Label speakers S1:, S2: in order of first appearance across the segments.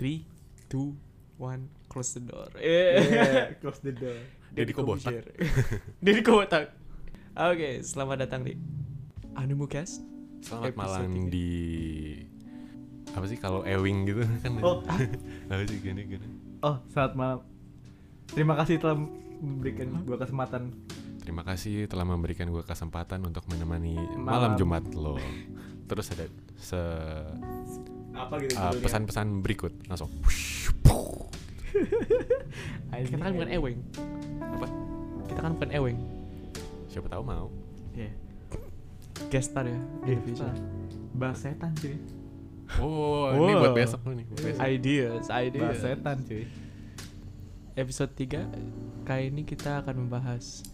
S1: 3, 2, 1, close the door.
S2: Iya, Yeah, close the door.
S1: Deddy
S3: Deddy Kobotak.
S1: Kobusier. Deddy Kobotak. Oke, selamat datang di Anu Animucast.
S3: Selamat
S1: Episode
S3: malam
S1: tiga.
S3: di apa sih kalau Ewing gitu kan?
S2: Oh.
S3: apa sih gini gini?
S2: Oh, selamat malam. Terima kasih telah memberikan gua kesempatan.
S3: Terima kasih telah memberikan gue kesempatan untuk menemani malam,
S2: Malam.
S3: Jumat lo. Terus ada se
S2: Apa gitu?
S3: uh, pesan-pesan berikut langsung.
S1: Kita kan bukan eweng.
S3: Apa?
S1: Kita kan bukan eweng.
S3: Siapa tahu mau?
S1: Iya. Gestar ya. in the future.
S2: Bahas setan cuy.
S3: Oh, ini buat
S1: Wow.
S3: besok lo nih. buat besok.
S1: Ideas,
S2: Bahas
S1: ideas.
S2: setan cuy.
S1: Episode 3 kali ini kita akan membahas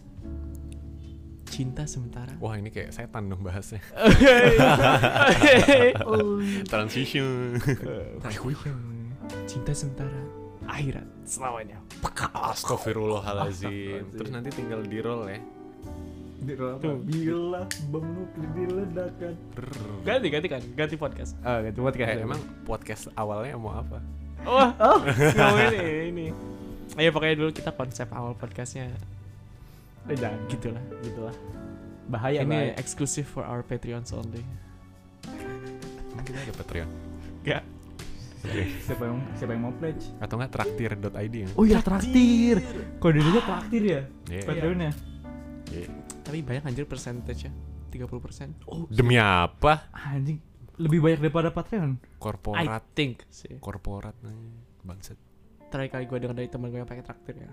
S1: cinta sementara.
S3: Wah ini kayak setan dong bahasnya.
S1: Oke.
S3: Transition.
S1: cinta sementara akhirat selamanya.
S3: Astagfirullahalazim. Terus nanti tinggal di roll ya.
S2: Di ruang apa?
S1: Tuh.
S2: Bila bom nuklir diledakkan.
S3: Rrrr.
S1: Ganti ganti kan, ganti podcast.
S2: Ah, gitu buat
S3: Eh, emang podcast awalnya mau apa?
S1: Wah, oh, ngomongin ini. ini. Ayo pokoknya dulu kita konsep awal podcastnya
S2: eh, jangan gitu
S1: gitulah.
S2: gitulah. Bahaya
S1: ini
S2: bahaya.
S1: eksklusif for our Patreons only.
S3: Emang kita ada Patreon.
S1: Gak.
S2: Siapa yang siapa yang mau pledge?
S3: Atau enggak traktir.id ya?
S2: Oh iya traktir. Kode dulu traktir ya.
S3: Iya.
S2: Patreonnya.
S3: Iya.
S1: Tapi banyak anjir percentage ya. 30%.
S2: Oh
S3: Demi apa?
S2: anjing lebih banyak daripada
S1: I
S2: Patreon.
S3: Korporat,
S1: think sih.
S3: korporat nih. Bangsat.
S1: Terakhir kali gue dengar dari teman gue yang pakai traktir ya.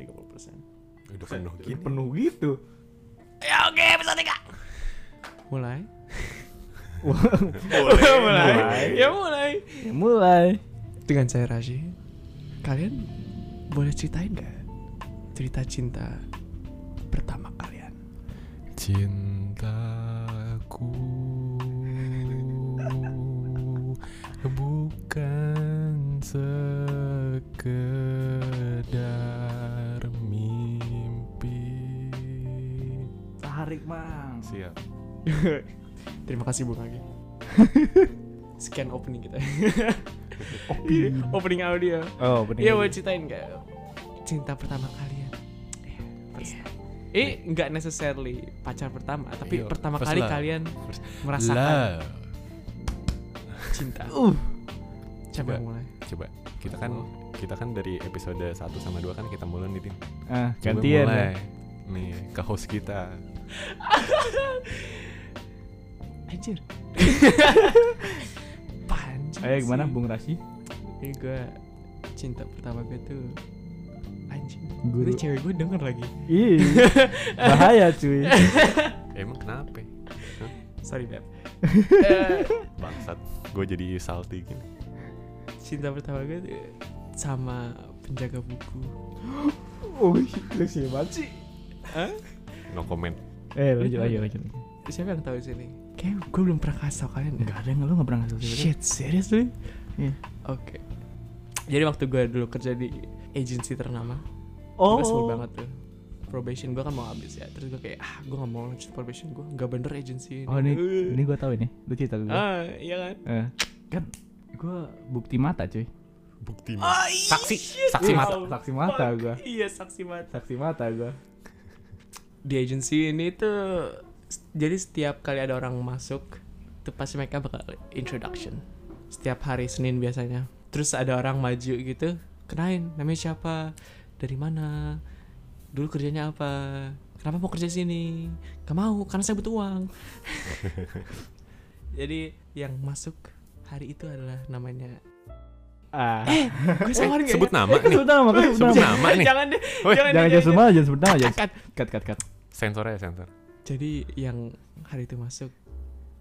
S1: 30%.
S3: Udah penuh gini.
S2: Penuh gitu.
S1: Ya oke, episode 3. Mulai.
S2: mulai.
S1: Ya mulai.
S2: Ya, mulai.
S1: Dengan saya Raji. Kalian boleh ceritain gak cerita cinta pertama kalian?
S3: Cintaku bukan sekedar mimpi.
S2: Tarik mang.
S3: Siap.
S1: Terima kasih Bung Agi. Sekian opening kita.
S2: Opening.
S1: opening audio.
S2: Oh benar.
S1: Iya, mau ceritain nggak cinta pertama kalian? Iya, first love. Eh, nggak necessarily pacar pertama, tapi
S3: Iya,
S1: pertama
S3: first
S1: kali
S3: love.
S1: kalian
S3: First
S1: merasakan
S3: Love.
S1: cinta.
S2: Uh.
S1: Coba
S3: Coba.
S1: mulai.
S3: Coba kita kan kita kan dari episode 1 sama 2 kan kita mulai nih Tin.
S2: Ah,
S3: Coba
S2: gantian. ya.
S3: mulai. Nih, ke host kita.
S1: Anjir. Panjang.
S2: Ayo Eh, gimana Bung Rasi?
S1: Ini gue cinta pertama gue tuh anjing.
S2: Guru.
S1: Ini cewek gue denger lagi.
S2: Ih. bahaya cuy.
S3: Emang kenapa? Hah?
S1: Sorry, Beb. Eh,
S3: Bangsat, gue jadi salty gini.
S1: cinta pertama gue tuh sama penjaga buku.
S2: Oh, lu sih banget sih.
S1: Hah?
S3: No comment.
S2: Eh, lanjut lanjut lanjut.
S1: Siapa yang tahu sini? Kayak gue belum pernah kasih tau kalian. ya?
S2: Enggak ada yang lu enggak pernah ngasih
S1: Shit, seriously?
S2: Iya.
S1: Oke. Jadi waktu gue dulu kerja di agensi ternama,
S2: Oh.
S1: gue sebel banget tuh. Probation gue kan mau habis ya. Terus gue kayak, ah gue gak mau lanjut probation gue. Gak bener agensi ini.
S2: Oh, ini
S1: Eh.
S2: ini gua tahu ini. Lu cerita ke gua.
S1: Ah, iya kan?
S2: Eh, kan gua bukti mata cuy.
S3: Bukti
S1: Ah, iya,
S3: Saksi,
S1: shit.
S3: saksi
S2: Iya,
S3: mata.
S2: sa- Saksi mata gua.
S1: Iya, saksi mata.
S2: Saksi mata gua.
S1: Di agensi ini tuh, s- jadi setiap kali ada orang masuk, tuh pasti mereka bakal introduction. Setiap hari Senin biasanya. Terus ada orang maju gitu, kenain namanya siapa, dari mana, dulu kerjanya apa, kenapa mau kerja sini, gak mau karena saya butuh uang. jadi yang masuk hari itu adalah namanya
S2: Ah.
S1: gue samarin nggak ya?
S3: Eh, Sebut nama nih.
S2: Sebut nama, kan sebut
S3: Sebut
S2: nama.
S3: nama nih.
S1: jangan deh
S3: Woi,
S1: jangan deh,
S2: Jangan jangan sebut nama, jangan sebut nama, jangan.
S1: Cut, cut.
S2: Cut cut cut.
S3: Sensornya sensor.
S1: Jadi yang hari itu masuk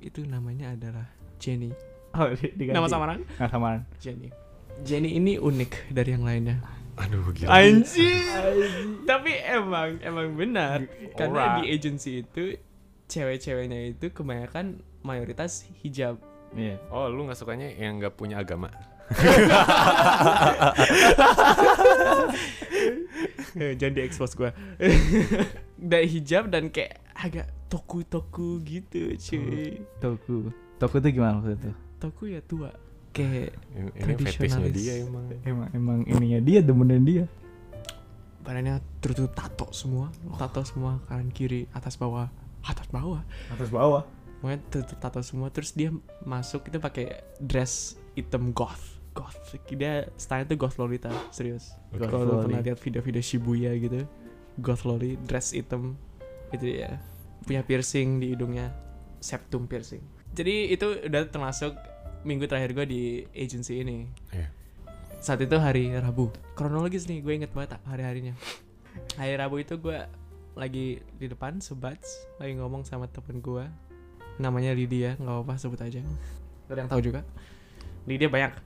S1: itu namanya adalah Jenny.
S2: Oh, di- diganti.
S1: Nama samaran
S2: Nama samaran.
S1: Jenny. Jenny ini unik dari yang lainnya.
S3: Aduh gila.
S1: Anjir. Tapi emang emang benar karena
S3: Alright.
S1: di agensi itu cewek-ceweknya itu kebanyakan mayoritas hijab.
S2: Iya.
S3: Oh lu nggak sukanya yang nggak punya agama?
S1: Eh, Jangan diekspos gua. dari hijab dan kayak agak toku-toku gitu, cuy.
S2: Toku. Toku tuh gimana maksudnya tuh?
S1: Toku ya tua. kayak
S3: Ini, ini fetishnya
S1: Tradisionalis.
S3: dia emang.
S2: Emang emang ininya dia demennya dia.
S1: badannya tertutup tato semua tato semua kanan kiri atas bawah atas bawah
S2: Atas bawah.
S1: pokoknya tertutup tato semua terus dia masuk itu pakai dress hitam goth goth dia style tuh goth lolita serius
S3: Oke.
S1: kalau lu
S2: Goth
S1: pernah
S2: loli.
S1: lihat video-video Shibuya gitu goth loli dress hitam itu ya punya piercing di hidungnya septum piercing jadi itu udah termasuk minggu terakhir gue di agency ini
S3: Iya.
S1: saat itu hari Rabu kronologis nih gue inget banget hari harinya hari Rabu itu gue lagi di depan sebats lagi ngomong sama temen gue namanya Lydia nggak apa-apa sebut aja Gak ada yang tahu juga Lydia banyak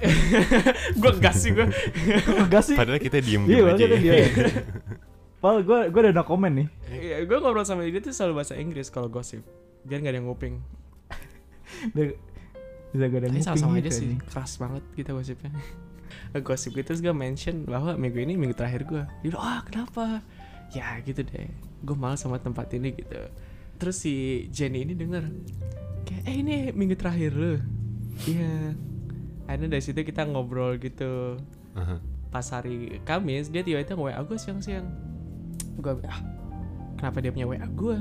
S1: gue gas sih gue
S2: Enggak sih.
S3: Padahal kita diem
S2: Iya,
S3: diem aja
S2: maksudnya
S3: ya.
S2: dia. Pal, gue gue udah no comment nih.
S1: Iya, gue ngobrol sama dia tuh selalu bahasa Inggris kalau gosip. Biar gak ada yang nguping.
S2: Biar- Bisa gue ada
S1: Tapi
S2: nguping
S1: sama-sama aja
S2: gitu
S1: sih,
S2: anjing.
S1: keras banget kita gosipnya. Gosip gitu terus gue mention bahwa minggu ini minggu terakhir gue. Dia bilang, ah kenapa? Ya gitu deh, gue malas sama tempat ini gitu. Terus si Jenny ini denger, kayak eh ini minggu terakhir lu. Iya. Akhirnya dari situ kita ngobrol gitu.
S3: Aha.
S1: Pas hari Kamis dia tiba-tiba nge WA gue siang-siang. Gue ah kenapa dia punya WA gue?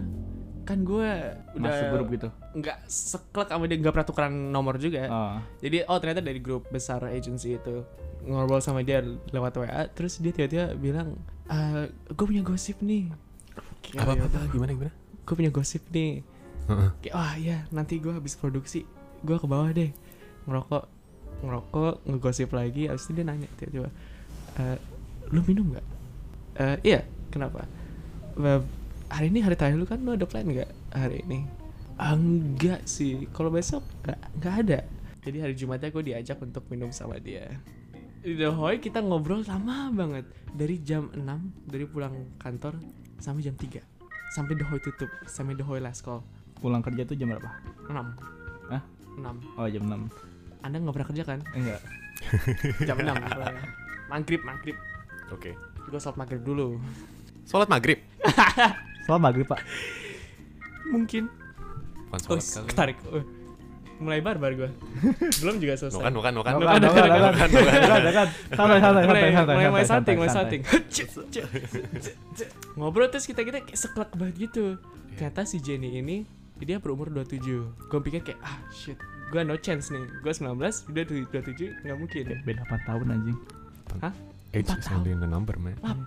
S1: Kan gue udah
S2: Masuk grup gitu.
S1: nggak seklek sama dia nggak pernah tukeran nomor
S3: Ah.
S1: juga
S2: Oh.
S1: jadi oh ternyata dari grup besar agency itu ngobrol sama dia lewat WA terus dia tiba-tiba bilang gue punya gosip nih
S3: Apa apa
S1: Iya.
S3: apa, gimana gimana?
S1: gue punya gosip nih
S3: Heeh.
S1: kayak wah ya nanti gue habis produksi gue ke bawah deh ngerokok ngerokok ngegosip lagi abis itu dia nanya tiba-tiba "Eh, lu minum nggak "Eh, iya kenapa "Eh, hari ini hari terakhir lu kan lu ada plan nggak hari ini "Ah, enggak sih kalau besok nggak nggak ada jadi hari jumatnya gue diajak untuk minum sama dia di The Hoi kita ngobrol lama banget dari jam 6 dari pulang kantor sampai jam 3 sampai The Hoi tutup sampai The Hoi last call
S2: Pulang kerja tuh jam berapa?
S1: 6
S2: Hah?
S1: 6
S2: Oh, jam 6.
S1: Anda nggak pernah kerja kan?
S2: Enggak.
S1: Jam 6 Maghrib, maghrib
S3: Oke.
S1: Gue sholat maghrib dulu
S3: Sholat maghrib.
S2: Soal maghrib, Pak.
S1: Mungkin
S3: Bukan
S1: Oh,
S3: sholat
S1: s-
S3: kali.
S1: ketarik Oh. Mulai barbar gue Belum juga selesai
S3: Bukan bukan bukan.
S1: Bukan, bukan, bukan,
S2: bukan, bukan, bukan. Santai, santai, santai,
S1: mulai
S2: santai.
S1: mulai mulai
S2: santai,
S1: salting mulai
S2: santai.
S1: salting ngobrol terus kita kita kayak sekelak banget gitu
S2: Iya.
S1: ternyata si Jenny ini dia berumur 27 gue pikir kayak ah shit gue no chance nih gue 19 udah 27 nggak mungkin
S2: Be- Beda 8 tahun anjing.
S3: Age
S1: Empat
S3: is
S1: tahun.
S3: only a number man.
S1: 8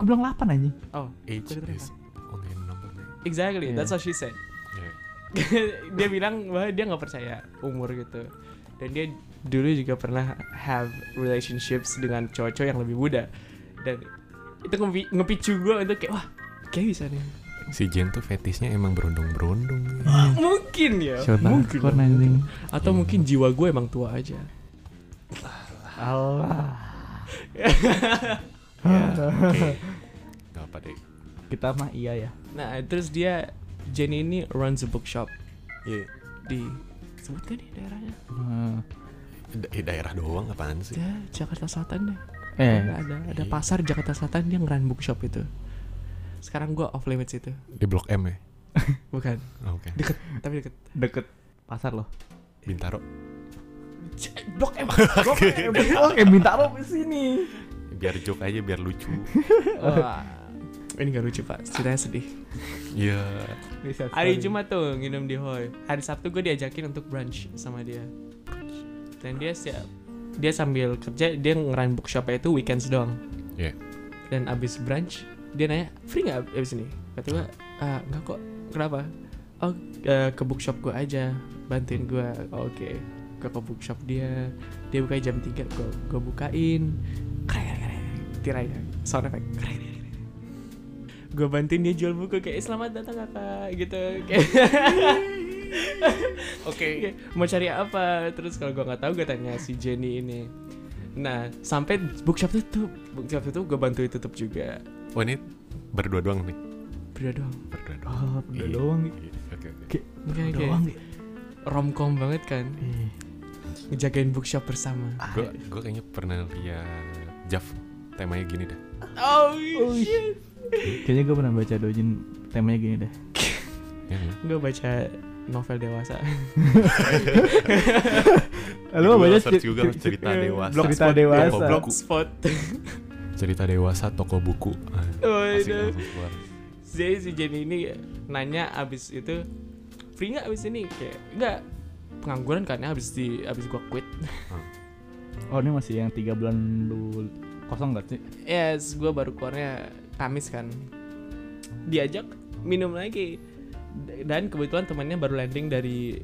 S2: Gue bilang 8 anjing.
S1: oh
S3: Age
S1: Gua kira
S3: is only a number man.
S1: exactly
S2: Iya.
S1: that's what she said
S3: Iya.
S1: dia bilang bahwa dia nggak percaya umur gitu dan dia dulu juga pernah have relationships dengan cowok-cowok yang lebih muda dan itu ngepi- ngepicu gue untuk kayak wah kayak bisa nih
S3: Si Jen tuh fetishnya emang berondong-berondong.
S1: mungkin ya
S2: Shot hardcore anjing.
S1: atau mungkin jiwa gue emang tua aja
S2: Allah.
S3: Ya, Oke. Gak apa deh.
S2: Kita mah iya ya.
S1: nah terus dia Jenny ini runs a bookshop
S3: Iya.
S1: di sebutkan nih daerahnya
S2: Hmm.
S3: Da- daerah doang apaan sih?
S1: ya Jakarta Selatan deh
S2: Eh,
S1: Nggak ada ada
S3: Iya.
S1: pasar Jakarta Selatan dia ngeran bookshop itu sekarang gue off limits itu
S3: Di Blok M ya. Ah,
S1: bukan
S3: Oke.
S1: deket tapi deket
S2: deket pasar loh.
S3: Bintaro.
S1: C- blok M
S2: Oke, minta lo ke sini.
S3: Biar joke aja biar lucu.
S1: Wah. ini gak lucu pak ceritanya sedih
S3: Iya.
S1: hari Jumat tuh nginum di Hoi hari Sabtu gue diajakin untuk brunch sama dia dan dia siap dia sambil kerja dia ngeran bookshopnya itu weekends doang
S3: Iya.
S1: dan abis brunch dia nanya free nggak abis ini kata gue ah nggak kok kenapa oh eh, ke bookshop gue aja bantuin gue Oh, oke gue ke bookshop dia dia buka jam 3 gue gue bukain keren keren tirai sound effect keren gue bantuin dia jual buku kayak "Eh, selamat datang kakak gitu oke mau cari apa terus kalau gue nggak tahu gue tanya si Jenny ini nah sampai bookshop tutup bookshop tutup gue bantuin tutup juga
S3: Oh ini berdua doang nih.
S1: berdua doang
S3: Berdua doang.
S2: Oh, udah
S3: Iya.
S2: doang.
S3: Iya, Oke oke.
S1: Oke, oke.
S2: Doang.
S1: romcom banget kan ngejagain bookshop bersama
S2: Ah,
S3: Gue gue kayaknya pernah lihat Jaf temanya gini dah.
S1: oh,
S2: Oh, shit. Kayaknya gue pernah baca dojin temanya gini deh.
S3: Ya, ya.
S1: gue baca novel dewasa
S2: Lalu
S4: Google
S2: banyak
S4: search
S2: cer-
S4: Google
S2: cer-
S4: cerita
S2: cer-
S4: dewasa.
S2: Blog cerita
S4: Blogspot,
S2: dewasa.
S3: Google Blog.
S1: Blogspot.
S3: cerita dewasa toko buku Ah,
S1: Oh,
S3: asik
S1: Waduh.
S3: langsung keluar
S1: Jadi si Jenny ini nanya abis itu free nggak abis ini kayak nggak pengangguran kan ya abis di abis gua quit.
S2: Oh ini masih yang tiga bulan dulu kosong gak sih?
S1: Yes, gua baru keluarnya Kamis kan. Diajak minum lagi D- dan kebetulan temannya baru landing dari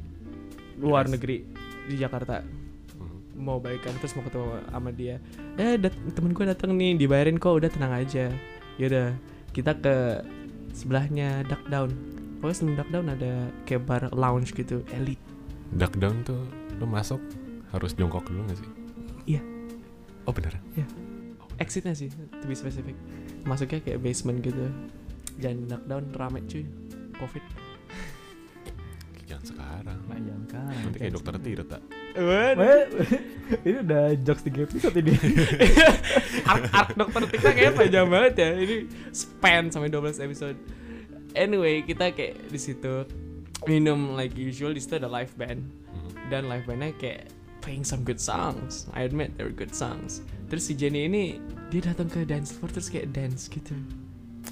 S1: luar negeri di Jakarta
S3: Hmm.
S1: mau baikan terus mau ketemu sama dia eh dat- temen gue datang nih dibayarin kok udah tenang aja yaudah kita ke sebelahnya duck down pokoknya sebelum duck down ada kayak bar lounge gitu elite
S3: duck down tuh lu masuk harus jongkok dulu gak sih
S1: Iya.
S3: oh beneran
S1: exitnya sih to be specific masuknya kayak basement gitu jangan duck down rame cuy covid
S3: jangan sekarang
S2: Nah jangan kan.
S3: nanti kayak dokter Tirta
S2: Weh, ini udah jokes tiga episode ini.
S1: arc arc dokter Tirta kayaknya panjang banget ya ini span sampai 12 episode anyway kita kayak di situ minum like usual di situ ada live band
S3: Mhm.
S1: dan live bandnya kayak playing some good songs I admit they were good songs terus si Jenny ini dia datang ke dance floor terus kayak dance gitu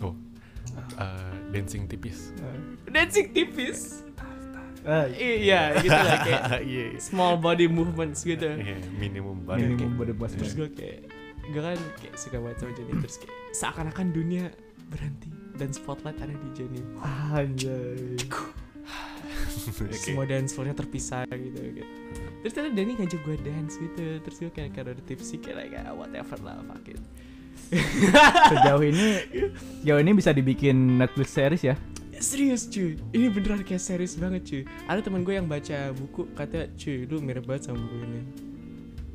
S3: oh eh, dancing tipis
S1: dancing tipis
S2: Ah,
S1: iya gitu lah kayak
S3: iya
S1: small body movements gitu
S3: Iya, minimum banget
S2: minimum body
S1: terus
S2: positive.
S1: gue kayak gue kan kayak suka banget sama Jenny terus kayak seakan-akan dunia berhenti dan spotlight ada di Jenny
S2: Anjay.
S1: semua dance floornya terpisah gitu, gitu. terus ternyata Dani ngajak gue dance gitu terus gue kayak kayak ada tipsy kayak like, ah, whatever lah fuck it
S2: Sejauh ini sejauh ini bisa dibikin Netflix series ya.
S1: serius cuy ini beneran kayak serius banget cuy ada teman gue yang baca buku kata cuy lu mirip banget sama buku ini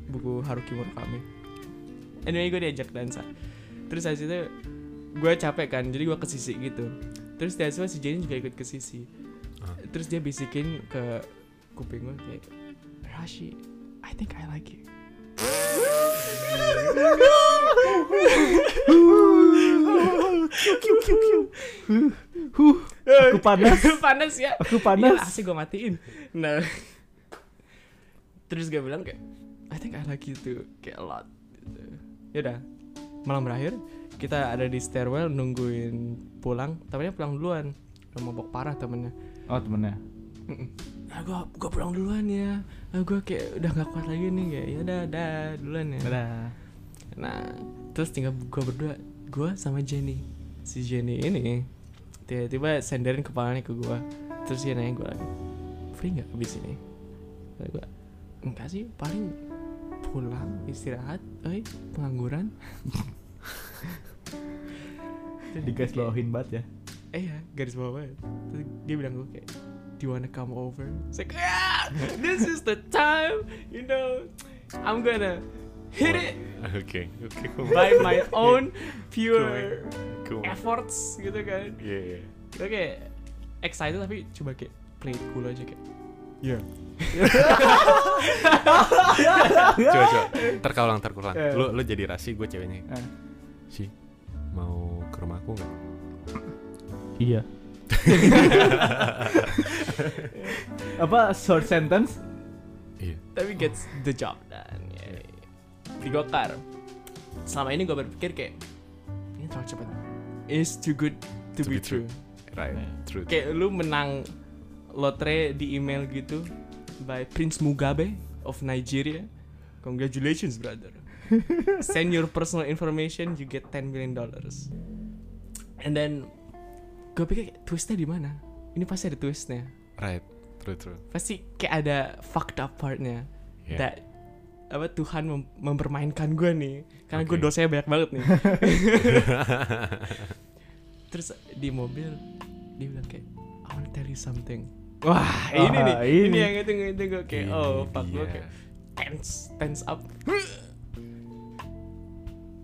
S1: buku Haruki Murakami anyway gue diajak dansa terus habis itu gue capek kan jadi gue ke sisi gitu terus dari situ si Jenny juga ikut ke sisi
S3: Ah.
S1: terus dia bisikin ke kuping gue kayak Rashi I think I like you
S2: Aku panas.
S1: panas ya
S2: Aku
S1: panas.
S2: panas.
S1: AC gue matiin. Nah, terus gue bilang kayak, I think I like you too, kayak a lot. Gitu. Yaudah, malam berakhir kita ada di stairwell nungguin pulang. Temennya pulang duluan, udah mabok parah temennya.
S2: Oh temennya.
S1: Nah, gue gue pulang duluan ya. Nah, gue kayak udah gak kuat lagi nih kayak, yaudah, dah duluan ya.
S2: Dadah.
S1: Nah, terus tinggal gue berdua, gue sama Jenny. Si Jenny ini tiba-tiba senderin kepalanya ke gue. Terus dia nanya gue lagi, free nggak abis ini? Kata gue, enggak sih, paling pulang istirahat, eh pengangguran. Terus dia
S2: Digas
S1: kayak,
S2: bawahin banget ya.
S1: Eh ya, garis bawah banget. Terus dia bilang gue kayak, do you wanna come over? It's like, "Ah, this is the time, you know, I'm gonna hit it
S3: oke oke
S1: by my own pure
S3: cool
S1: efforts gitu kan
S3: iya iya
S1: oke excited tapi coba kayak play it cool aja kayak
S3: coba coba ntar kau ulang ntar kau ulang
S2: Eh.
S3: lu lu jadi rasi gue ceweknya
S2: Eh.
S3: si mau ke rumahku nggak
S2: Iya. Apa short sentence?
S3: iya
S1: tapi gets the job done Yay. digokar selama ini gue berpikir kayak ini terlalu cepat is too good to, be, true,
S3: right true
S1: kayak lu menang lotre di email gitu by Prince Mugabe of Nigeria congratulations brother send your personal information you get 10 million dollars and then gue pikir kayak, twistnya di mana ini pasti ada twistnya
S3: right true true
S1: pasti kayak ada fucked up partnya
S3: Iya.
S1: that apa Tuhan mem- mempermainkan gue nih karena gue
S3: Oke.
S1: dosanya banyak banget nih terus di mobil dia bilang kayak I wanna tell you something wah ini nih
S2: Ah,
S1: ini,
S2: ini.
S1: yang itu itu gue kayak
S3: Ini
S1: oh fuck gue
S3: dia.
S1: kayak tense tense up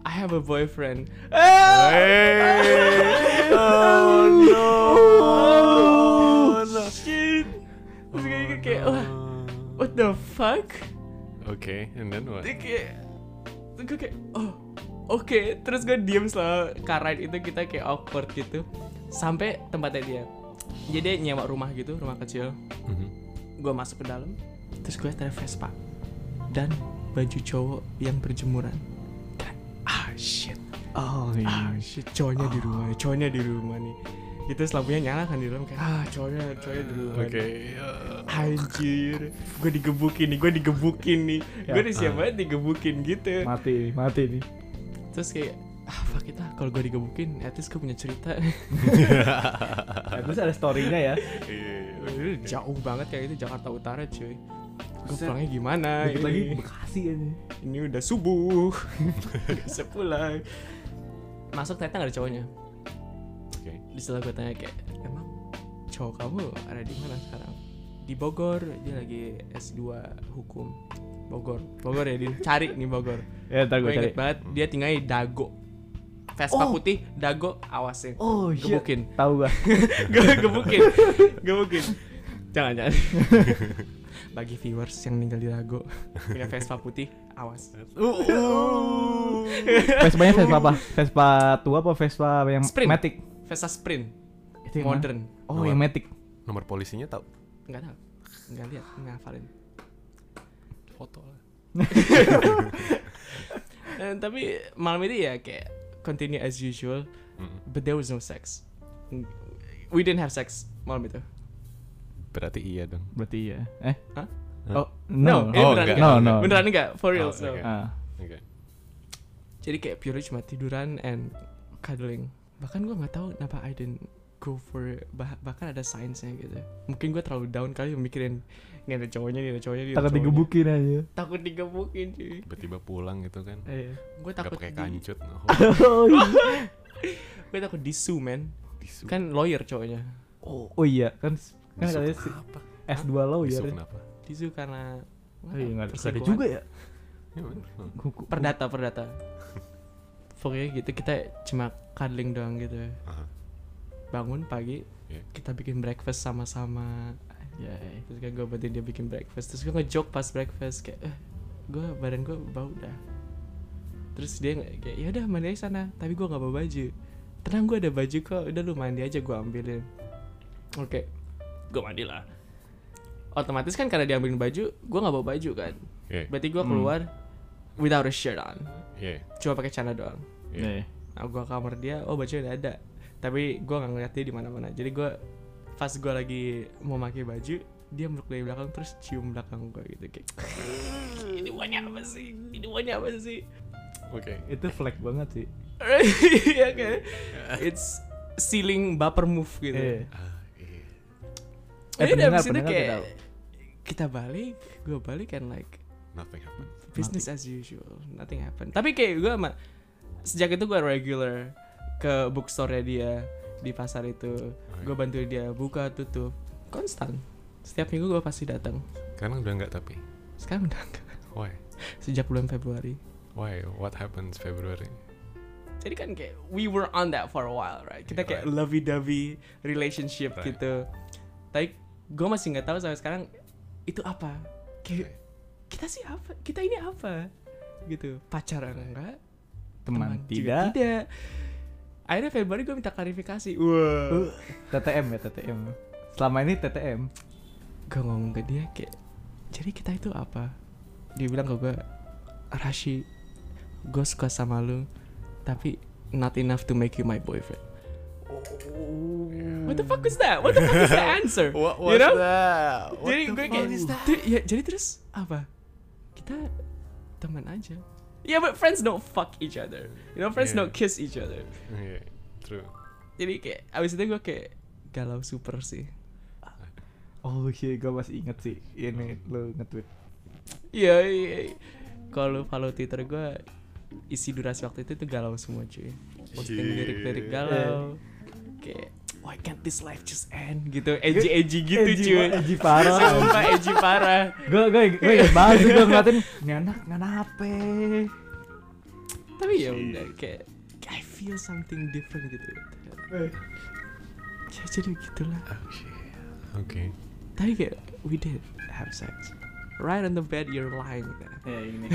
S1: I have a boyfriend Ah!
S3: oh no
S1: Oh, shit terus gue kayak wah what the fuck
S3: Oke, and then what?
S1: Dia kayak Terus gue kayak oh oke terus gue diem selama car ride itu kita kayak awkward gitu sampai tempatnya dia jadi dia nyewa rumah gitu rumah kecil
S3: Mhm.
S1: gue masuk ke dalam terus gue ada Vespa dan baju cowok yang berjemuran Kayak, ah shit
S2: Oh
S1: ah shit cowoknya di rumah cowoknya di rumah nih itu lampunya nyala kan di dalam kayak ah cowoknya cowoknya di rumah nih.
S3: ya.
S1: anjir gue digebukin nih gue digebukin nih
S2: Ya,
S1: gue disiap banget digebukin gitu
S2: Mati nih, mati nih.
S1: terus kayak ah fuck it ah kalau gue digebukin at least gue punya cerita
S2: Ya, terus ada story-nya ya.
S1: Itu jauh banget kayak itu Jakarta Utara cuy gue
S2: Buset.
S1: pulangnya gimana
S2: Dikit
S1: ini?
S2: lagi Bekasi ini.
S1: ini udah subuh gak bisa pulang masuk ternyata gak ada cowoknya
S3: Oke.
S1: di setelah gue tanya kayak emang cowok kamu ada di mana sekarang di Bogor dia lagi S2 hukum Bogor Bogor ya Din cari nih Bogor
S2: Ya, ntar
S1: gue
S2: gue cari.
S1: inget banget dia tinggal di Dago Vespa
S2: Oh.
S1: putih Dago awasin
S2: Oh, shit.
S1: gebukin
S2: Tahu gua.
S1: gue gebukin gebukin jangan jangan bagi viewers yang tinggal di Dago punya Vespa putih awas Oh.
S2: Vespanya Vespa apa? Vespa tua apa Vespa yang
S1: Sprint.
S2: Matic?
S1: Vespa Sprint
S2: Itu yang mana?
S1: modern
S2: Oh, yang Matic.
S3: Nomor polisinya tahu?
S1: nggak tahu nggak lihat nggak hafalin
S3: Foto lah.
S1: Eh, tapi malam itu ya kayak continue as usual
S3: Mm.
S1: but there was no sex we didn't have sex malam itu
S3: Berarti iya dong.
S2: Berarti ya. Eh?
S1: Hah?
S2: Oh,
S1: No, ini
S2: no.
S1: kan-
S3: Oh,
S1: beneran enggak.
S3: enggak.
S2: No, no.
S1: beneran enggak for real
S3: Oh, oke.
S2: Ah.
S3: Oke.
S1: jadi kayak purely cuma tiduran and cuddling bahkan gua nggak tahu kenapa I didn't go for bah- bahkan ada sainsnya gitu mungkin gua terlalu down kali ya mikirin ini ada cowoknya ini ada cowoknya ini ada
S2: Takut
S1: cowoknya."
S2: digebukin aja.
S1: takut digebukin cuy
S3: Tiba-tiba pulang gitu kan.
S2: Iya.
S1: gue
S3: Gak
S1: Eh, takut
S3: pakai
S1: di,
S3: kancut. Oh,
S2: Oh, iya.
S1: gue takut disu man
S3: tisu.
S1: kan lawyer cowoknya
S2: Oh, oh iya, kan kan
S3: Tisu
S2: katanya si-
S3: kenapa?
S2: S2 loh ya.
S3: Tisu kenapa?
S1: disu karena nggak tahu,
S2: Iya, nggak ada- nggak ada
S1: perselingkuhan.
S2: juga ya.
S3: Ya, bener. Hmm.
S2: Hukum-
S1: perdata perdata pokoknya gitu kita cuma cuddling doang gitu
S3: Aha.
S1: bangun pagi
S3: Iya.
S1: kita bikin breakfast sama-sama
S2: Ya,
S1: terus kan gue bantuin dia bikin breakfast terus gue ngejoke pas breakfast kayak eh, gue badan gue bau dah terus dia nge- kayak ya udah mandi aja sana tapi gue nggak bawa baju tenang gue ada baju kok udah lu mandi aja gue ambilin oke gue mandi lah otomatis kan karena diambilin baju gue nggak bawa baju kan
S3: Iya,
S1: berarti gue
S2: Hmm.
S1: keluar without a shirt on
S3: iya.
S1: cuma pakai celana doang
S2: ya.
S3: Iya.
S1: nah, gue kamar dia oh bajunya udah ada tapi gue nggak ngeliat dia di mana mana jadi gue pas gue lagi mau pakai baju dia meluk dari belakang terus cium belakang gue gitu kayak ini buahnya apa sih ini buahnya apa sih
S3: Oke.
S2: Itu flag banget sih.
S1: ya kan it's ceiling baper move gitu
S2: Iya.
S3: Ah, iya.
S1: Jadi
S2: Eh, pendengar,
S1: abis itu
S2: pendengar
S1: kayak
S2: udah
S1: kita balik gue balik and like
S3: Nothing happened.
S1: business as usual nothing happened tapi kayak gue sama sejak itu gue regular ke bookstore dia di pasar itu gue bantuin dia buka tutup konstan setiap minggu gue pasti datang
S3: Sekarang udah enggak tapi.
S1: sekarang udah enggak.
S3: Why?
S1: sejak bulan Februari
S3: Why? What happens February?
S1: jadi kan kayak we were on that for a while right kita kayak
S3: Yeah,
S1: lovey dovey relationship
S3: Right.
S1: gitu tapi gue masih nggak tahu sampai sekarang itu apa kayak kita sih apa kita ini apa gitu pacaran
S3: Right.
S1: enggak
S2: Teman
S1: juga
S2: tidak.
S1: tidak akhirnya Februari gue minta klarifikasi Eh, wah
S2: Uh, TTM ya TTM. Selama ini TTM.
S1: gue ngomong ke dia kayak jadi kita itu apa dia bilang ke gue Rashi gue suka sama lu tapi not enough to make you my boyfriend Oh. what the fuck is that what the fuck is the answer you know jadi gue kayak "Dude, ya jadi terus apa kita teman aja yeah but friends don't fuck each other you know friends
S3: Yeah.
S1: don't kiss each other
S3: Iya, true.
S1: jadi kayak abis itu gue kayak galau super sih
S2: Oh iya, gue masih inget sih. Ini lo nge-tweet.
S1: Iya, iya. iya. Kalau lu follow Twitter gue isi durasi waktu itu tuh galau semua cuy. Posting
S3: Shit.
S1: lirik-lirik
S2: Iya. Eh,
S1: galau. Kayak why can't this life just end gitu. Edgy edgy gitu
S2: Edgy
S1: cuy.
S2: banget, edgy parah.
S1: Sumpah edgy parah.
S2: Gue gue gue inget banget sih gue ngeliatin. Ini anak nganape?
S1: Tapi ya udah kayak I feel something different gitu.
S2: Eh,
S1: Ya jadi gitulah.
S3: Oke.
S1: Tapi kayak we did have sex. Right on the bed you're lying there.
S2: Ya ini.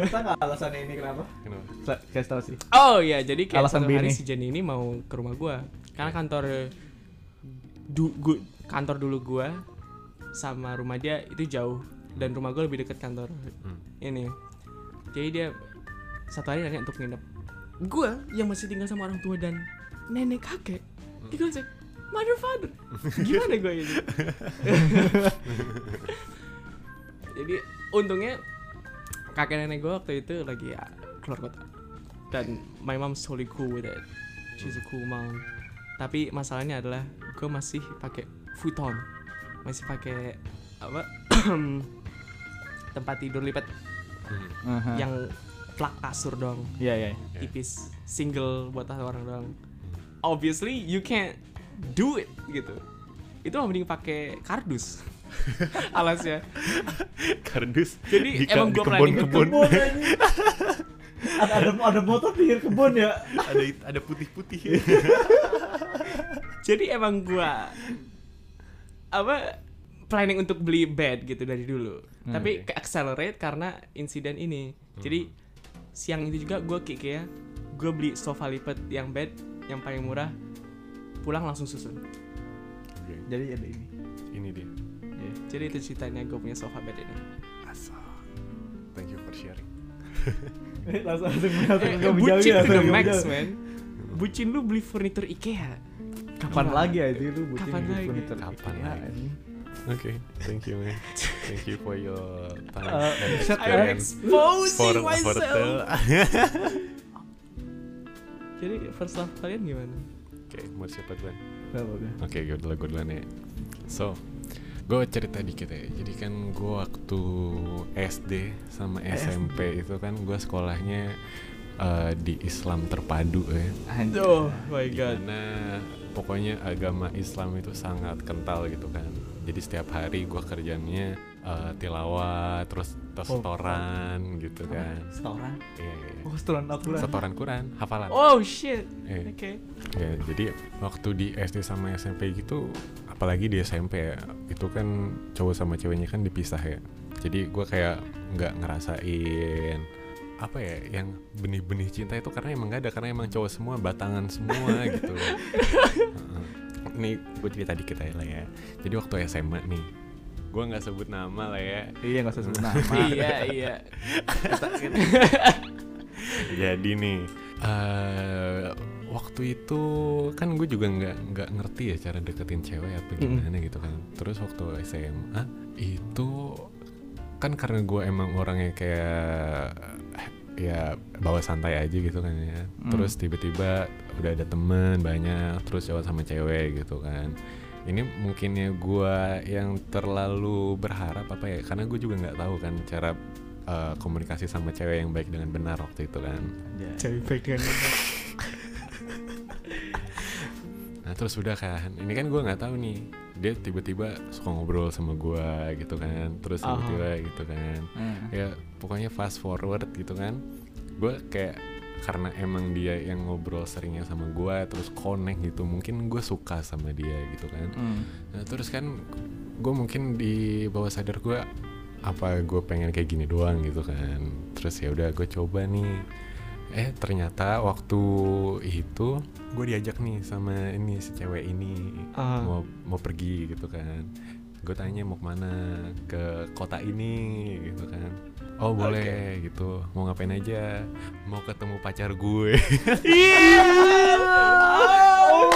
S2: Masa nggak alasan ini kenapa?
S3: Kenapa?
S2: Kasih tau sih.
S1: Oh ya, jadi kayak
S2: Alasan
S1: satu hari
S2: bini.
S1: si Jenny ini mau ke rumah gua. Karena kantor du, gu- kantor dulu gua sama rumah dia itu jauh. dan rumah gue lebih dekat kantor
S3: Hmm.
S1: ini jadi dia satu hari nanya untuk nginep gue yang masih tinggal sama orang tua dan nenek kakek digosek mother father gimana gue ini jadi untungnya kakek nenek gue waktu itu lagi ya, keluar kota dan my mom's totally cool with it she's a cool mom tapi masalahnya adalah gue masih pakai futon masih pakai apa tempat tidur lipat
S3: Hmm.
S2: Aha.
S1: yang plak kasur doang
S2: Iya, iya.
S3: Yeah.
S1: tipis single buat satu orang doang obviously you can't do it gitu itu mah mending pakai kardus alasnya
S3: Kardus.
S1: Jadi
S3: ke-
S1: emang gua planning
S2: Di
S3: kebun-kebun
S2: kebun anjing. ada, ada ada motor pinggir kebun ya.
S3: ada ada putih-putih.
S1: jadi emang gua apa planning untuk beli bed gitu dari dulu
S3: Hmm, iya.
S1: tapi ke accelerate karena insiden ini jadi siang itu juga gua ke IKEA gua beli sofa lipat yang bed yang paling murah pulang langsung susun
S3: Oke,
S2: Jadi ada ini.
S3: Ini dia.
S2: Iya.
S1: jadi itu ceritanya gue punya sofa bed ini
S3: Asal. Thank you for sharing.
S2: Eh, langsung langsung
S1: Eh,
S2: langsung ke menjauh
S1: bucin to
S2: ya,
S1: the
S2: langsung ke
S1: max
S2: menjauh.
S1: man bucin lu beli furnitur IKEA
S2: Kapan lagi ya itu lu bucin
S1: Kapan
S2: di
S1: lagi?
S2: furniture Iya,
S3: Kapan
S2: IKEA,
S3: lagi?
S2: anjing.
S3: Oke, thank you man. Thank you for your time
S2: Uh,
S3: and
S2: shut up.
S1: I'm
S3: experience. For,
S1: exposing
S3: for
S1: myself
S3: the-
S1: jadi first love kalian gimana
S3: Oke, mau siapa duluan?
S2: Apa dia?
S3: Oke, gue dulu, gue duluan ya. So, gue cerita dikit ya. Jadi kan gue waktu SD sama SMP itu kan gue sekolahnya eh, di Islam terpadu ya.
S2: Anjing.
S1: oh my god
S3: Karena pokoknya agama Islam itu sangat kental gitu kan. Jadi setiap hari gue kerjanya eh, tilawah, terus
S1: Oh.
S3: setoran gitu kan.
S2: Setoran.
S3: Iya, iya, iya.
S2: Oh, setoran aku lah.
S3: Setoran Quran, hafalan.
S1: oh shit
S3: Iya.
S1: oke
S3: Ya, jadi waktu di SD sama SMP gitu, apalagi di SMP ya, itu kan cowok sama ceweknya kan dipisah ya. Jadi gue kayak nggak ngerasain apa ya yang benih-benih cinta itu karena emang gak ada karena emang cowok semua batangan semua gitu. Heeh. Ini gue cerita dikit aja lah ya. Jadi waktu SMA nih, gue nggak sebut nama lah ya.
S2: Iya, enggak usah sebut nama.
S1: iya iya
S3: Jadi nih eh, waktu itu kan gue juga nggak nggak ngerti ya cara deketin cewek atau gimana gitu kan. Terus waktu SMA itu kan karena gue emang orangnya kayak ya bawa santai aja gitu kan ya. Terus tiba-tiba udah ada temen banyak, terus cowok sama cewek gitu kan. Ini mungkinnya gue yang terlalu berharap apa ya? Karena gue juga nggak tahu kan cara eh, komunikasi sama cewek yang baik dengan benar waktu itu kan.
S2: Iya.
S1: cewek baik dengan
S3: Nah terus udah kan, ini kan gue nggak tahu nih. Dia tiba-tiba suka ngobrol sama gue gitu kan, terus
S1: Aha.
S3: tiba-tiba gitu kan.
S2: Hmm.
S3: Ya pokoknya fast forward gitu kan. Gue kayak karena emang dia yang ngobrol seringnya sama gue, terus connect gitu. Mungkin gue suka sama dia gitu kan.
S2: Hmm.
S3: Nah, terus kan gue mungkin di bawah sadar gue apa gue pengen kayak gini doang gitu kan. Terus ya udah gue coba nih. Eh ternyata waktu itu gue diajak nih sama ini si cewek ini
S1: Ah.
S3: mau mau pergi gitu kan. Gue tanya mau kemana ke kota ini gitu kan. Oh boleh gitu. Mau ngapain aja? Mau ketemu pacar gue.
S1: Iya. oh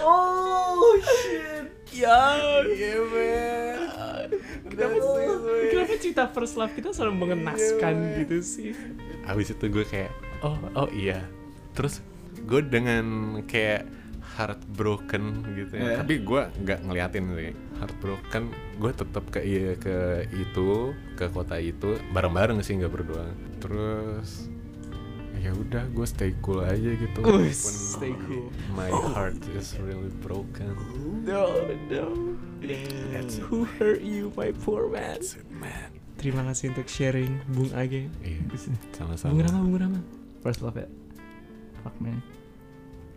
S2: Oh shit.
S1: ya
S3: Iya man.
S1: kenapa kenapa cerita first love kita selalu mengenaskan gitu sih
S3: habis itu gue kayak oh oh iya terus gue dengan kayak heartbroken gitu ya
S2: Iya.
S3: tapi gue nggak ngeliatin sih heartbroken gue tetap ke ke itu ke kota itu bareng bareng sih nggak berdua terus ya udah gue stay cool aja gitu
S1: Wih,
S3: walaupun
S1: stay cool.
S3: my heart is really broken
S1: no no who hurt you my poor man
S3: That's it, man
S1: terima kasih untuk sharing Bung Age
S3: iya
S1: Bung Rama
S3: sama-sama
S1: Bung Rama
S2: First love ya. Fuck man.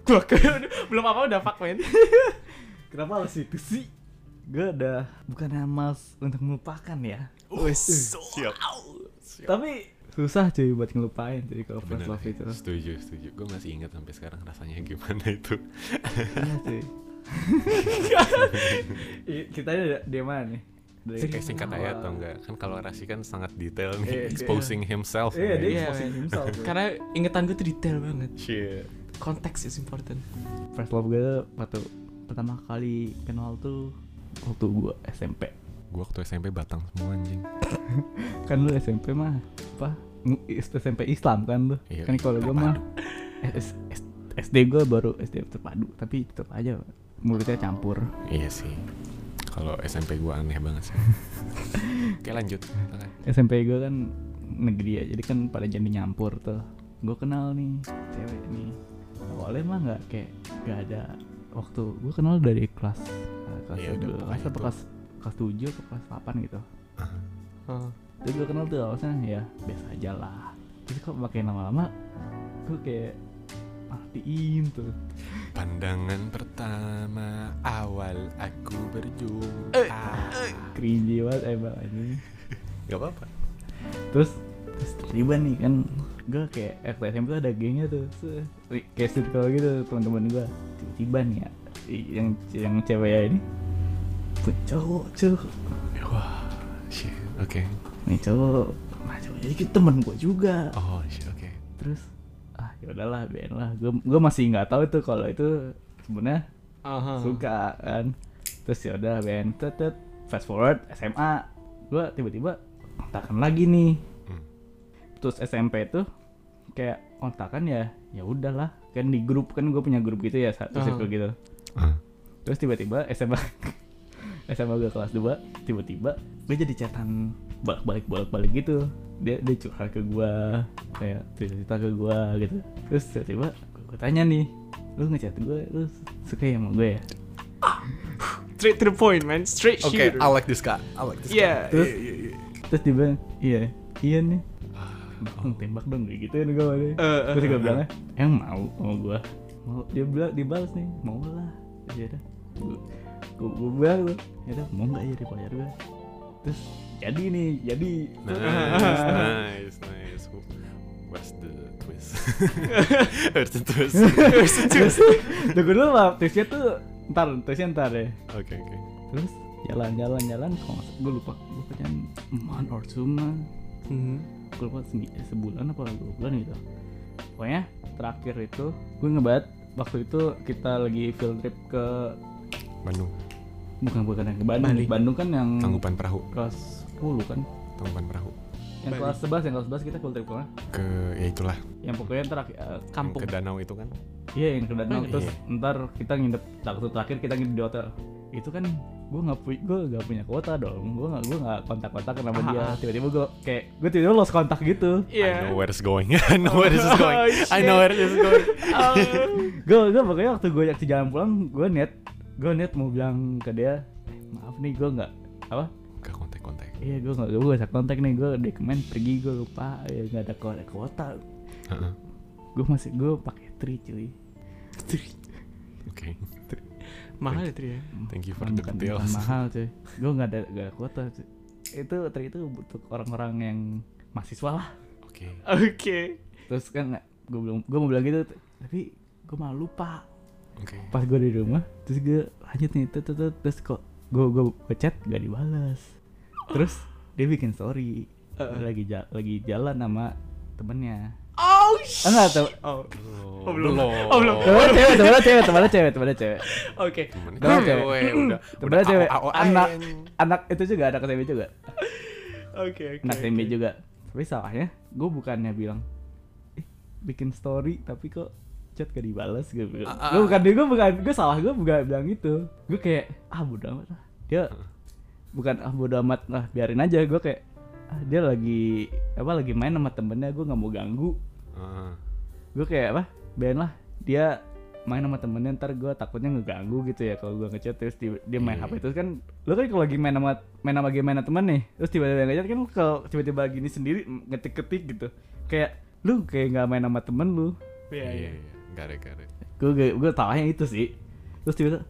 S1: Gua kayak udah- belum apa udah fuck man
S2: Kenapa harus itu sih? Gue udah bukan males untuk melupakan ya.
S1: Wes.
S3: siap
S2: Tapi susah cuy buat ngelupain cuy kalau first
S3: Bener,
S2: love itu.
S3: setuju setuju gue masih ingat sampai sekarang rasanya gimana itu
S2: Iya cuy. I- Ceritanya di- di mana nih? Dari-
S3: Kayak singkat aja atau enggak? Kan kalau Rasi kan sangat detail
S2: Iya, iya.
S3: nih, exposing himself.
S2: Iya, dia
S1: Iya,
S2: exposing
S1: men.
S2: himself.
S1: Karena ingetan gue tuh detail banget.
S3: Shit.
S1: Konteks is important.
S2: first love gue waktu pertama kali kenal tuh waktu gue SMP.
S3: Gue waktu SMP batang semua anjing.
S2: Kan lu SMP mah apa? Mu- is- SMP Islam kan lu.
S3: Iya,
S2: kan kalau gue mah S- S- SD gue baru SD terpadu, tapi tetap aja mulutnya campur.
S3: Iya sih. Kalau SMP gue aneh banget sih. Oke lanjut. Silakan.
S2: SMP gue kan negeri ya jadi kan pada jadi nyampur tuh gue kenal nih cewek nih awalnya mah nggak kayak nggak ada waktu gue kenal dari kelas eh, kelas
S3: Iya, udah,
S2: dua
S3: pokoknya
S2: kelas apa
S3: itu.
S2: kelas kelas tujuh atau kelas delapan gitu
S1: Heeh.
S2: terus gue kenal tuh awalnya ya biasa aja lah tapi kok makin lama-lama gue kayak matiin tuh
S3: Pandangan pertama awal aku berjumpa.
S2: cringy banget emang ini
S3: Gak apa-apa.
S2: terus terus tiba nih kan gue kayak waktu SMP tuh ada gengnya tuh se- ri- kayak circle gitu teman-teman gue tiba-tiba nih ya i- yang yang cewek ya ini pun cowok cowok
S3: Wah, shit. Oke.
S2: nih cowok nah cowok jadi kita temen gue juga
S3: Oh, shit. Oke.
S2: terus ah ya udahlah biarin lah gue gue masih nggak tahu tuh kalau itu sebenarnya
S1: Aha.
S2: suka kan terus ya udah ben tetet fast forward SMA gue tiba-tiba kontakan lagi nih
S3: Hmm.
S2: terus SMP tuh kayak kontakan ya ya udahlah kan di grup kan gue punya grup gitu ya satu
S1: Aha.
S2: circle gitu
S3: Ah.
S2: terus tiba-tiba SMA SMA gue kelas 2 tiba-tiba gue jadi catatan balik-balik balik-balik gitu dia dia curhat ke gue kayak cerita ke gue gitu terus tiba-tiba gue tanya nih lu ngechat gue lu suka ya sama gue ya
S1: Straight to the point, man. Straight shooter.
S3: like this guy. I like this
S1: Yeah.
S2: terus terus dia bilang iya iya nih Bang, tembak dong kayak gitu kan gue nih
S1: Ah. Eh,
S2: terus gue bilang yang mau mau gue mau dia bilang dibalas nih mau lah Terus ya udah gue gue bilang tuh, ya udah mau nggak jadi pacar gue terus jadi nih jadi
S1: Nah.
S3: Nice, nice, nice. Where's the twist? Where's the twist?
S2: terus tunggu dulu lah terusnya tuh ntar terusnya ntar deh
S3: Oke, oke.
S2: terus jalan jalan jalan kalau nggak salah- gue lupa gue pacaran man or two month.
S1: Mhm.
S2: gue lupa semi- eh, sebulan apa dua bulan gitu pokoknya terakhir itu gue ngebat waktu itu kita lagi field trip ke
S3: Bandung,
S2: bukan bukan yang ke Bandung
S1: Bali.
S2: Bandung kan yang
S3: tanggupan perahu,
S2: kelas 10 kan
S3: tanggupan perahu.
S2: yang
S1: Bali.
S2: kelas 11 yang kelas 11 kita field trip kemana
S3: Ke ya itulah,
S2: yang pokoknya terakhir eh,
S3: yang
S1: Kampung.
S3: ke danau itu kan.
S2: iya yang ke Danau
S1: Bali.
S2: terus ntar kita nginep nah, waktu terakhir kita nginep di hotel itu kan gue nggak punya gue nggak punya kuota dong gue nggak gue nggak kontak kontak sama dia
S1: Ah.
S2: tiba-tiba gue kayak gue tiba-tiba lost kontak gitu
S3: I know
S1: Iya.
S3: where it's going. I know where this is going.
S1: Oh,
S3: I know where this is going.
S2: gue gue pokoknya waktu gue yakti jalan pulang gue niat gue niat mau bilang ke dia "Eh, maaf nih gue nggak apa
S3: Gak kontak-kontak.
S2: iya gue nggak gue gak kontak nih gue dokumen pergi gue lupa ya nggak ada kuota kuota
S3: Heeh.
S2: gue masih gue pakai tri cuy
S3: Oke.
S1: Mahal itu ya.
S3: Thank you for
S2: Bukan-
S3: the
S2: bukan, bukan
S3: details.
S2: mahal cuy gue nggak ada nggak ada kuota cuy itu tri itu untuk orang-orang yang mahasiswa lah
S3: Oke.
S1: Oke.
S2: terus kan gue belum gue mau bilang gitu tapi gue malu lupa
S3: Oke.
S2: pas gue di rumah terus gue lanjut nih tut, tut, tut. terus kok gue gue gue chat gak dibalas terus dia bikin story lagi ja- lagi jalan sama temennya
S1: Oh
S2: ah nggak tahu
S1: Oh.
S3: Oh,
S1: belum.
S3: belum.
S1: Oh, belum.
S2: temennya cewek temennya cewek temennya cewek temennya cewek
S1: Oke.
S3: Temennya
S2: Temennya cewek.
S3: cewek, udah.
S2: Temennya cewek.
S3: AO-an.
S2: anak anak itu juga anak SMP juga
S1: Oke oke.
S2: anak SMP
S1: oke.
S2: juga tapi salahnya gue bukannya bilang eh, bikin story tapi kok chat gak dibales gue bilang
S3: Ah, ah.
S2: gue bukan gue bukan gue salah gue bukan bilang itu gue kayak ah bodo amat lah dia bukan ah bodo amat lah biarin aja gue kayak ah, dia lagi apa lagi main sama temennya gue nggak mau ganggu
S3: Ah,
S2: gue kayak apa biarin lah dia main sama temennya ntar gue takutnya ngeganggu gitu ya kalau gue ngechat terus dia, dia main hp
S3: Iya.
S2: terus kan lo kan kalau lagi main sama main sama game main sama temen nih terus tiba-tiba ngechat kan kalau tiba-tiba gini sendiri ngetik-ketik gitu kayak lu kayak nggak main sama temen lu
S1: Iya
S3: Iya,
S1: iya.
S3: iya. Gak ada, gak ada.
S2: gue gue salahnya itu sih terus tiba-tiba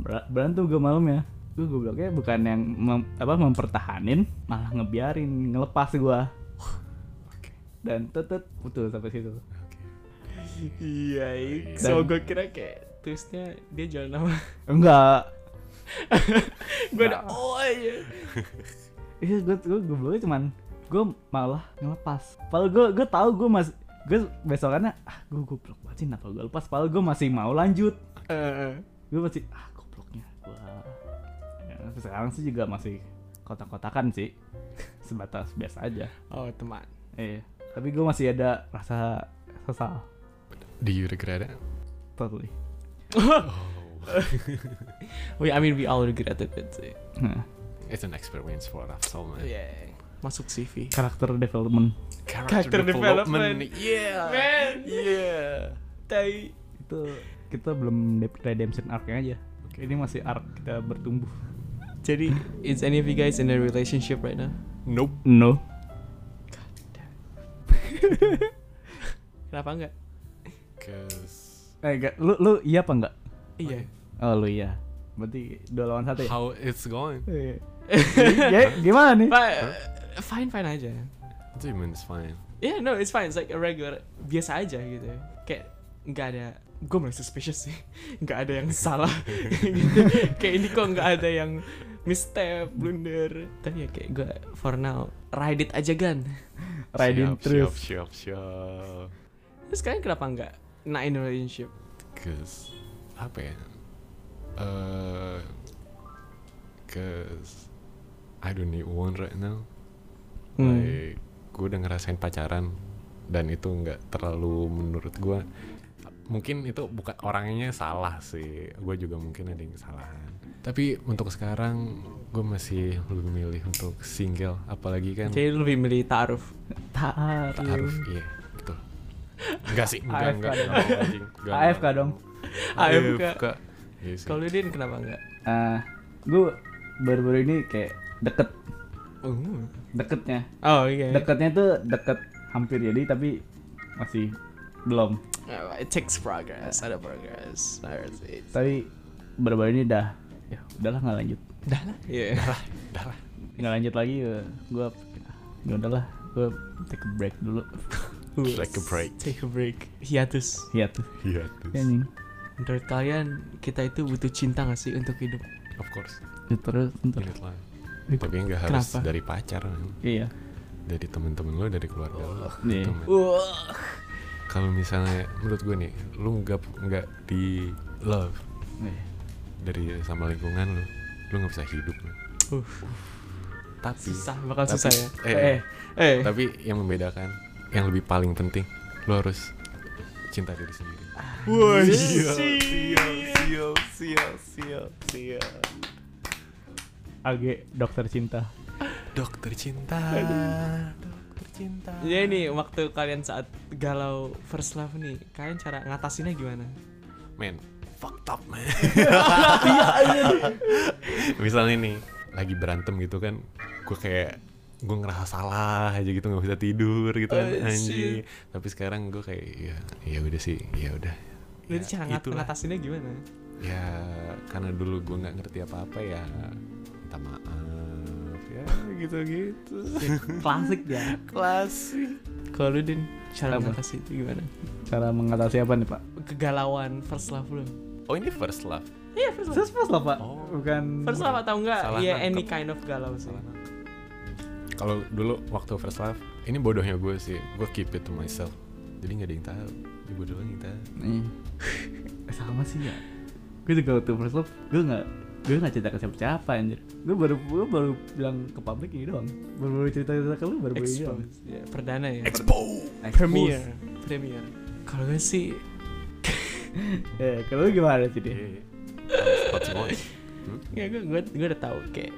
S2: "Ber- berantem gue malam ya gue gobloknya bukan yang mem- apa mempertahanin malah ngebiarin ngelepas gue
S3: Oke.
S2: dan tetet putus sampai situ
S3: Oke.
S1: Iya. iya.
S3: Iya.
S1: So
S2: Dan-
S1: gue kira kayak twistnya dia jalan sama
S2: enggak
S1: gue ada oh aja
S2: Iya, gue gue gobloknya cuman gue malah ngelepas. Padahal gue gue tahu gue mas gue besokannya ah gue goblok banget sih kenapa gue lepas. Padahal gue masih mau lanjut.
S1: Eh,
S2: Gue masih ah gobloknya gue. Ya, sekarang sih juga masih kotak-kotakan sih sebatas biasa aja.
S1: oh teman
S2: Eh, tapi gue masih ada rasa sesal
S3: Do you regret it?
S2: totally.
S3: Oh.
S1: we I mean we all regret it but sih
S2: Nah,
S3: It's an experience for us all, man.
S1: yeah. masuk CV
S2: karakter development
S1: Character development.
S3: Yeah.
S1: Man.
S3: Yeah.
S1: tai
S2: itu kita belum de- redemption arc-nya aja. Ini masih arc kita bertumbuh.
S1: jadi is any of you guys in a relationship right now
S3: Nope.
S2: No.
S1: kenapa enggak
S3: Cause
S2: Eh, enggak. Lu lu iya apa enggak?
S1: iya
S2: Oh lu iya. Berarti dua lawan satu ya?
S3: how it's going?
S2: Iya. Ya, gimana nih?
S1: But, uh, fine fine aja
S3: What do you mean it's fine?
S1: yeah no it's fine it's like a regular biasa aja gitu kayak nggak ada gue mulai suspicious sih nggak ada yang salah gitu. kayak ini kok nggak ada yang misstep blunder tapi ya kayak gue for now ride it aja gan
S2: Riding
S3: Siap,
S2: terus.
S3: Siap, siap, siap.
S1: terus kalian kenapa nggak not in a relationship
S3: Cause apa ya? Uh, cause I don't need one right now.
S2: Hmm.
S3: Like, gue udah ngerasain pacaran dan itu nggak terlalu menurut gue. Mungkin itu bukan orangnya salah sih. Gue juga mungkin ada yang kesalahan. Tapi untuk sekarang gue masih lebih milih untuk single. Apalagi kan
S1: jadi lu lebih milih taaruf
S2: Taaruf.
S3: Taaruf, iya betul. Enggak sih, enggak,
S2: AFK
S3: enggak,
S2: dong.
S3: enggak, anjing. Enggak,
S2: AFK
S3: enggak.
S2: dong.
S1: AFK.
S3: Iya sih.
S1: Ah, kalau lu din kenapa nggak
S2: Eh, gue baru-baru ini kayak deket
S3: Oh,
S2: deketnya.
S1: oh iya
S2: Deketnya tuh deket hampir jadi tapi masih belum.
S1: Oh, it takes progress ada progress Harus- it's-
S2: Tapi baru-baru ini dah ya udahlah nggak lanjut.
S1: dah lah iya
S2: Nggak lanjut lagi gue ya udahlah gue take a break dulu
S3: Take a break.
S1: take a break hiatus
S2: ya tuh
S3: Iya,
S2: ya,
S3: terus.
S2: anjing.
S1: Menurut kalian kita itu butuh cinta gak sih untuk hidup?
S3: of course.
S2: Ya, terus ntar
S3: Unit lah. Tapi enggak harus
S1: Kenapa?
S3: dari pacar, man.
S2: iya
S3: dari temen-temen lo, dari keluarga lo.
S2: Iya.
S3: gitu, man. Kalau misalnya menurut gue nih, lu nggak nggak di love
S2: Iya.
S3: dari sama lingkungan lu, lu nggak bisa hidup. man.
S1: Uh,
S3: Tapi,
S1: susah bakal
S3: tapi-
S1: susah ya.
S3: eh,
S2: eh
S1: Eh,
S3: tapi yang membedakan, yang lebih paling penting, lu harus cinta diri sendiri.
S1: woi,
S2: Iya.
S3: siap, siap, siap, siap.
S2: AG dokter cinta
S3: Dokter cinta. Dokter cinta.
S1: Jadi nih Ya, waktu kalian saat galau first love nih, kalian cara ngatasinnya gimana?
S3: Men, fucked up man. Misalnya nih, lagi berantem gitu kan, gue kayak gue ngerasa salah aja gitu nggak bisa tidur gitu kan
S1: Oh,
S3: anjing. Tapi sekarang gue kayak ya ya udah sih, ya udah.
S1: Jadi
S3: Ya,
S1: cara ngat
S3: itulah.
S1: ngatasinnya gimana?
S3: Ya karena dulu gue nggak ngerti apa-apa ya minta maaf ya gitu-gitu.
S2: klasik ya
S3: Klasik.
S1: Kalau lu din cara
S2: Apa?
S1: ngatasi itu gimana?
S2: cara mengatasi apa nih pak
S1: Kegalauan first love lu.
S3: Oh ini first love.
S1: Iya first love.
S2: terus pas lah pak
S3: Oh.
S2: bukan
S1: First love atau enggak?
S3: Salah
S1: Ya
S3: nangkep.
S1: any kind of galau sih.
S3: Kalau dulu waktu first love, ini bodohnya gue sih, gue keep it to myself. Jadi nggak ada yang tahu, ini gue doang yang tahu.
S2: Iya. Eh, sama sih ya gue juga waktu first love gue nggak gue nggak cerita ke siapa-siapa anjir gue baru gue baru bilang ke publik ini doang baru baru cerita cerita ke lu baru baru ini doang
S1: Expose. Ya, perdana ya.
S3: Expose.
S2: Expose.
S1: Premier. Premier. Kalau gue sih
S2: eh kalau lu gimana sih
S1: Eh.
S2: dia
S3: Iya. Cepat semua. Hmm?
S1: Ya gue, gue, gue udah tahu kayak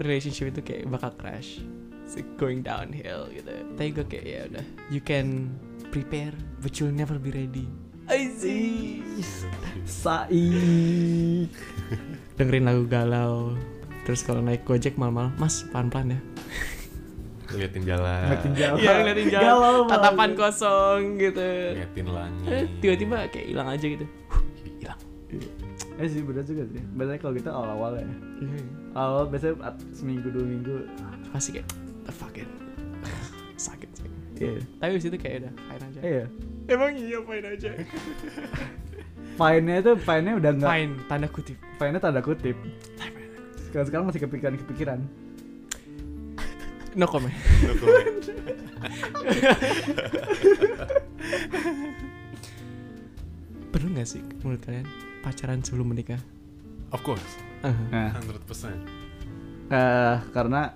S1: relationship itu kayak bakal crash, It's like going downhill gitu. Tapi gue kayak ya udah, you can prepare but you'll never be ready. I see.
S2: sai
S1: Dengerin lagu galau. Terus kalau naik gojek malam-malam, mas pelan-pelan ya.
S3: Liatin jalan.
S2: Ngeliatin jalan.
S1: Iya ngeliatin jalan,
S2: Galau banget.
S1: tatapan kosong gitu.
S3: Liatin
S1: Eh,
S3: langit.
S1: Tiba-tiba kayak hilang aja gitu. Huh, Hilang.
S2: Eh sih bener juga sih. Biasanya kalau gitu awal-awal ya. Awal biasanya at- seminggu dua minggu.
S1: Hmm. Pasti kayak the fucking sakit sih.
S2: Iya.
S1: Tapi abis itu kayak udah fine aja.
S2: Iya.
S1: Eh, Emang iya fine aja.
S2: Fine-nya itu fine-nya udah enggak
S1: Fine, tanda kutip.
S2: fine-nya tanda kutip.
S1: Fine.
S2: sekarang sekarang masih kepikiran kepikiran
S1: No comment. Perlu nggak sih menurut kalian pacaran sebelum menikah?
S3: of course
S1: Ah,
S2: nah
S3: 100% persen
S2: eh, karena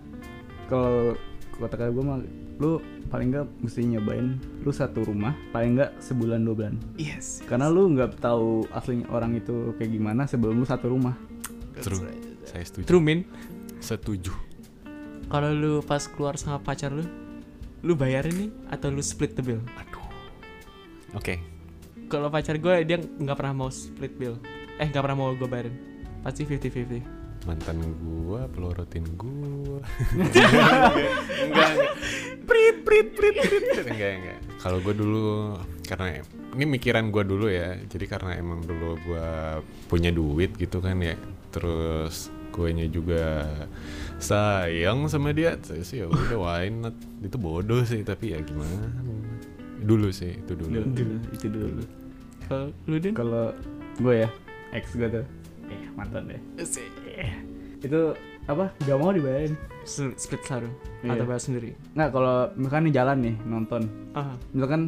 S2: kalau kata kata gue mah lu paling nggak mesti nyobain lu satu rumah paling nggak sebulan dua bulan
S1: yes.
S2: karena lu nggak tahu aslinya orang itu kayak gimana sebelum lu satu rumah
S3: true saya setuju
S1: True Min,
S3: setuju
S1: kalau lu pas keluar sama pacar lu, lu bayarin nih atau lu split the bill?
S3: aduh oke
S1: Kalau pacar gue dia nggak pernah mau split bill. Eh nggak pernah mau gue bayarin. Pasti 50-50.
S3: mantan gua pelorotin gua enggak
S1: Prit prit prit.
S3: enggak enggak enggak kalau gua dulu karena ini mikiran gua dulu ya jadi karena emang dulu gua punya duit gitu kan ya terus guenya juga sayang sama dia terus ya udah why not itu bodoh sih tapi ya gimana dulu sih itu dulu
S2: dulu Gitu, itu dulu
S1: Kalau lu din?
S2: kalau gue ya ex gue tuh eh mantan deh Eh, itu apa nggak mau dibayarin
S1: Split split selalu
S2: Iya.
S1: atau bayar sendiri?
S2: nggak kalau misalkan nih jalan nih nonton
S1: Ah.
S2: misalkan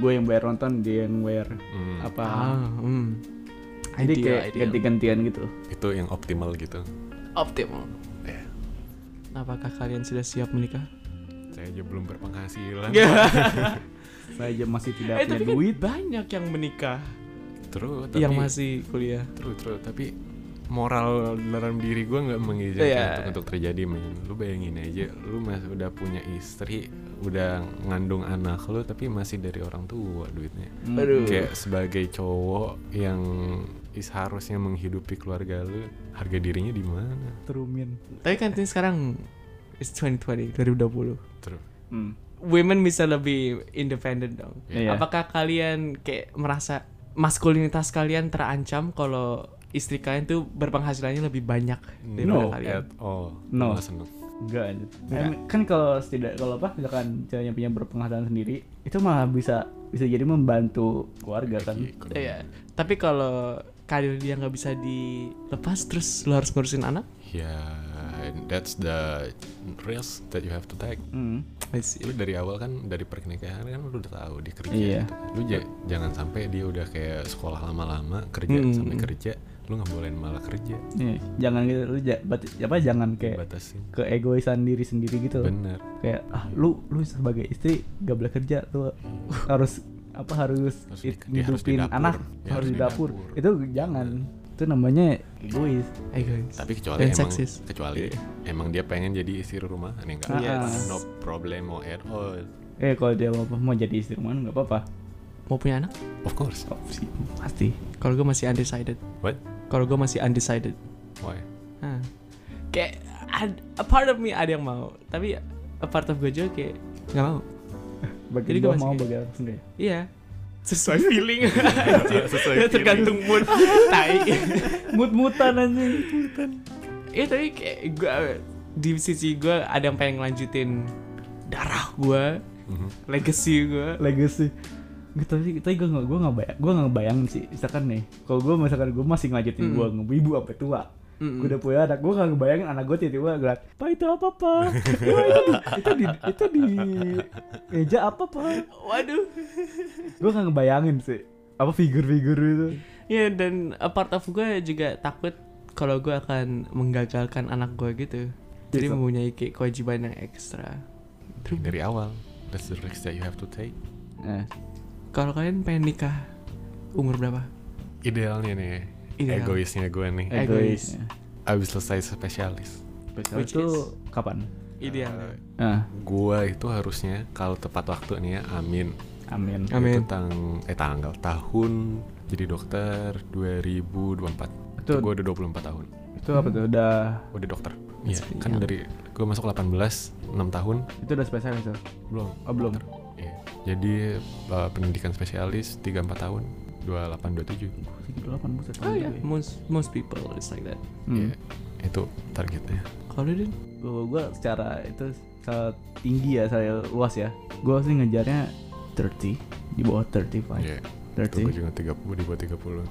S2: gue yang bayar nonton dia yang bayar
S3: Hmm,
S2: apa
S1: Ah, hmm.
S2: jadi
S1: Ideal,
S2: kayak
S1: ideal.
S2: ganti-gantian gitu
S3: itu yang optimal gitu
S1: Optimal. Iya. Apakah kalian sudah siap menikah?
S3: saya aja belum berpenghasilan
S2: saya aja masih tidak
S1: eh
S2: punya
S1: tapi kan
S2: duit
S1: banyak yang menikah
S3: terus tapi
S1: yang masih kuliah.
S3: True, true. Tapi moral dalam diri gue nggak mengizinkan
S1: Iya.
S3: untuk, untuk terjadi, men. Lu bayangin aja, lu mas udah punya istri, udah ngandung anak lu, tapi masih dari orang tua duitnya.
S1: Aduh.
S3: Kayak sebagai cowok yang is harusnya menghidupi keluarga lu, harga dirinya di mana?
S2: terumin
S1: Tapi kan ini sekarang it's 2020, 2020.
S3: True.
S2: hmm.
S1: Women bisa lebih independen dong.
S2: Iya.
S1: Apakah kalian kayak merasa maskulinitas kalian terancam kalau istri kalian tuh berpenghasilannya lebih banyak daripada
S2: No.
S1: kalian?
S3: At all.
S2: No.
S3: Oh, Gua seneng.
S2: enggak anjir. Em, kan kalau tidak kalau apa misalkan ceweknya punya berpenghasilan sendiri itu malah bisa bisa jadi membantu keluarga kan
S3: Iya, ekonomi.
S1: Iya. Tapi kalau karir dia nggak bisa dilepas terus lo harus ngurusin anak?
S3: Ya, and that's the risk that you have to take.
S2: hmm.
S1: I see.
S3: lu dari awal kan dari pernikahan kan lu udah tahu dia kerja
S2: Iya.
S3: gitu. lu ja- jangan sampai dia udah kayak sekolah lama-lama kerja
S1: Mm,
S3: sampai
S1: mm.
S3: kerja lu nggak bolehin malah kerja
S2: Iya, jangan gitu lu ja- bat- apa jangan
S1: Iya.
S2: kayak
S3: batasin
S2: keegoisan diri sendiri gitu loh.
S3: bener
S2: kayak ah lu lu sebagai istri gak boleh kerja lu harus apa harus,
S3: Harus
S2: it-
S3: di- dia harus di
S2: hidupin
S3: dapur.
S2: anak
S3: Dia
S2: harus di dapur. itu jangan itu namanya egois
S1: Hey Iya, guys.
S3: tapi kecuali
S1: Dan
S3: emang
S1: seksis.
S3: kecuali
S2: Iya.
S3: emang dia pengen jadi istri rumah nih enggak
S1: Yes.
S3: no problemo at all
S2: eh kalau dia mau, mau jadi istri rumah nggak apa-apa
S1: mau punya anak?
S3: of course
S2: Oh, sih, pasti
S1: Kalau gue masih undecided.
S3: what
S1: Kalau gue masih undecided.
S3: why
S1: Hah. Kayak ad- a part of me ada yang mau, tapi a part of gue juga kayak nggak mau.
S2: bagi
S1: Jadi
S2: gua
S1: gua masih
S2: mau
S1: kayak-
S2: bagi aku enggak ya?
S1: Iya. Sesuai feeling. Anjir.
S3: Sesuai
S1: Ya, tergantung mood. Tai.
S2: mut-mutan anjing
S1: Iya tapi kayak gue di sisi gue ada yang pengen ngelanjutin darah gue,
S3: Mhm.
S1: legacy gue.
S2: legacy Gitu tapi tapi gue nggak gue nggak bayang gue nggak bayangin sih misalkan nih kalau gue misalkan gue masih ngajutin
S1: Mm.
S2: gue ibu sampai tua
S1: Mm-mm.
S2: gue udah punya anak gue nggak ngebayangin anak gue tiba-tiba gerak pak itu apa pak Wah, itu, di, itu di itu di meja apa pak
S1: Waduh.
S2: gue nggak ngebayangin sih apa figur-figur itu
S1: Iya dan a part of gue juga takut kalau gue akan menggagalkan anak gue gitu. Jadi
S2: Gitu.
S1: mempunyai kayak kewajiban yang ekstra.
S3: dari awal that's the risk that you have to take
S2: eh,
S1: Kalau kalian pengen nikah umur berapa?
S3: idealnya nih
S1: Ideal.
S3: egoisnya gue nih
S1: Eh. Egois.
S2: egois
S3: abis selesai spesialis
S1: Which
S2: itu
S1: is-
S2: kapan
S1: Idealnya.
S2: ah
S3: gua itu harusnya kalau tepat waktu nih ya amin
S2: amin
S1: Amin.
S3: itu tang eh tanggal tahun jadi dokter 2024 itu
S2: Itu-
S3: gua udah 24 tahun
S2: itu apa tuh udah
S3: udah dokter Iya,
S1: That's
S3: kan
S1: young.
S3: dari gua masuk 18 6 tahun
S2: itu udah spesial itu
S3: belum
S2: oh belum
S3: dokter. Iya. jadi eh, pendidikan spesialis 3 4 tahun 28 27
S2: delapan buset Hmm.
S1: Oh ya, most most people is like that.
S3: Iya, itu targetnya
S1: Kalau lu, Din?
S2: Kalau gue secara itu secara tinggi ya, saya luas ya. Gue sih ngejarnya 30 di bawah 35.
S3: Iya, itu gua
S2: 30.
S3: juga 30 di bawah 30
S2: I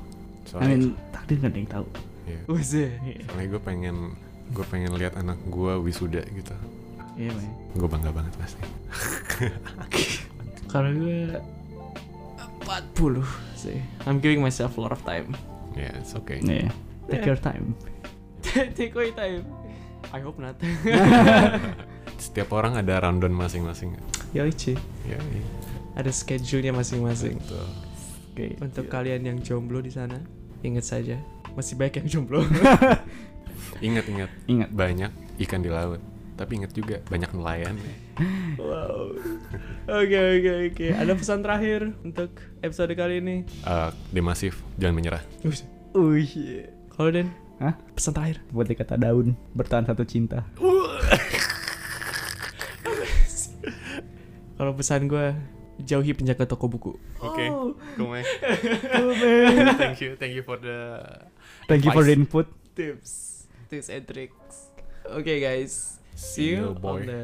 S3: soalnya
S2: mean, takdir gak ada yang tahu.
S3: iya.
S1: Wih,
S3: soalnya gue pengen gue pengen lihat anak gue wisuda gitu
S2: Iya, May.
S3: gue bangga banget pasti
S2: Kalau gue
S1: 40 sih. I'm giving myself a lot of time.
S3: ya it's okay
S2: Iya. Take your time.
S1: Take away time. I hope not.
S3: setiap orang ada rundown masing-masing
S1: Yoichi.
S3: ya iya.
S1: Ada schedule-nya masing-masing.
S3: Betul.
S2: Oke.
S1: Untuk kalian yang jomblo di sana, ingat saja masih baik yang jomblo.
S3: ingat-ingat
S2: Ingat.
S3: banyak ikan di laut tapi ingat juga banyak nelayan
S1: wow. Oke oke oke. Ada pesan terakhir untuk episode kali ini.
S3: Eh, demasif jangan menyerah
S2: Oh iya.
S1: Kalau Den,
S2: Hah?
S1: pesan terakhir.
S2: Buat kata daun bertahan satu cinta.
S1: Kalau pesan gue jauhi penjaga toko buku.
S3: oke
S1: Oh.
S3: Kumai. thank you thank you for the
S2: Thank you for the
S3: Advice.
S2: input.
S1: Tips, tips and tricks. Oke guys, see you on the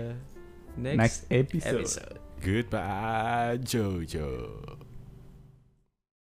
S1: next,
S2: Next episode.
S1: episode.
S3: goodbye Jojo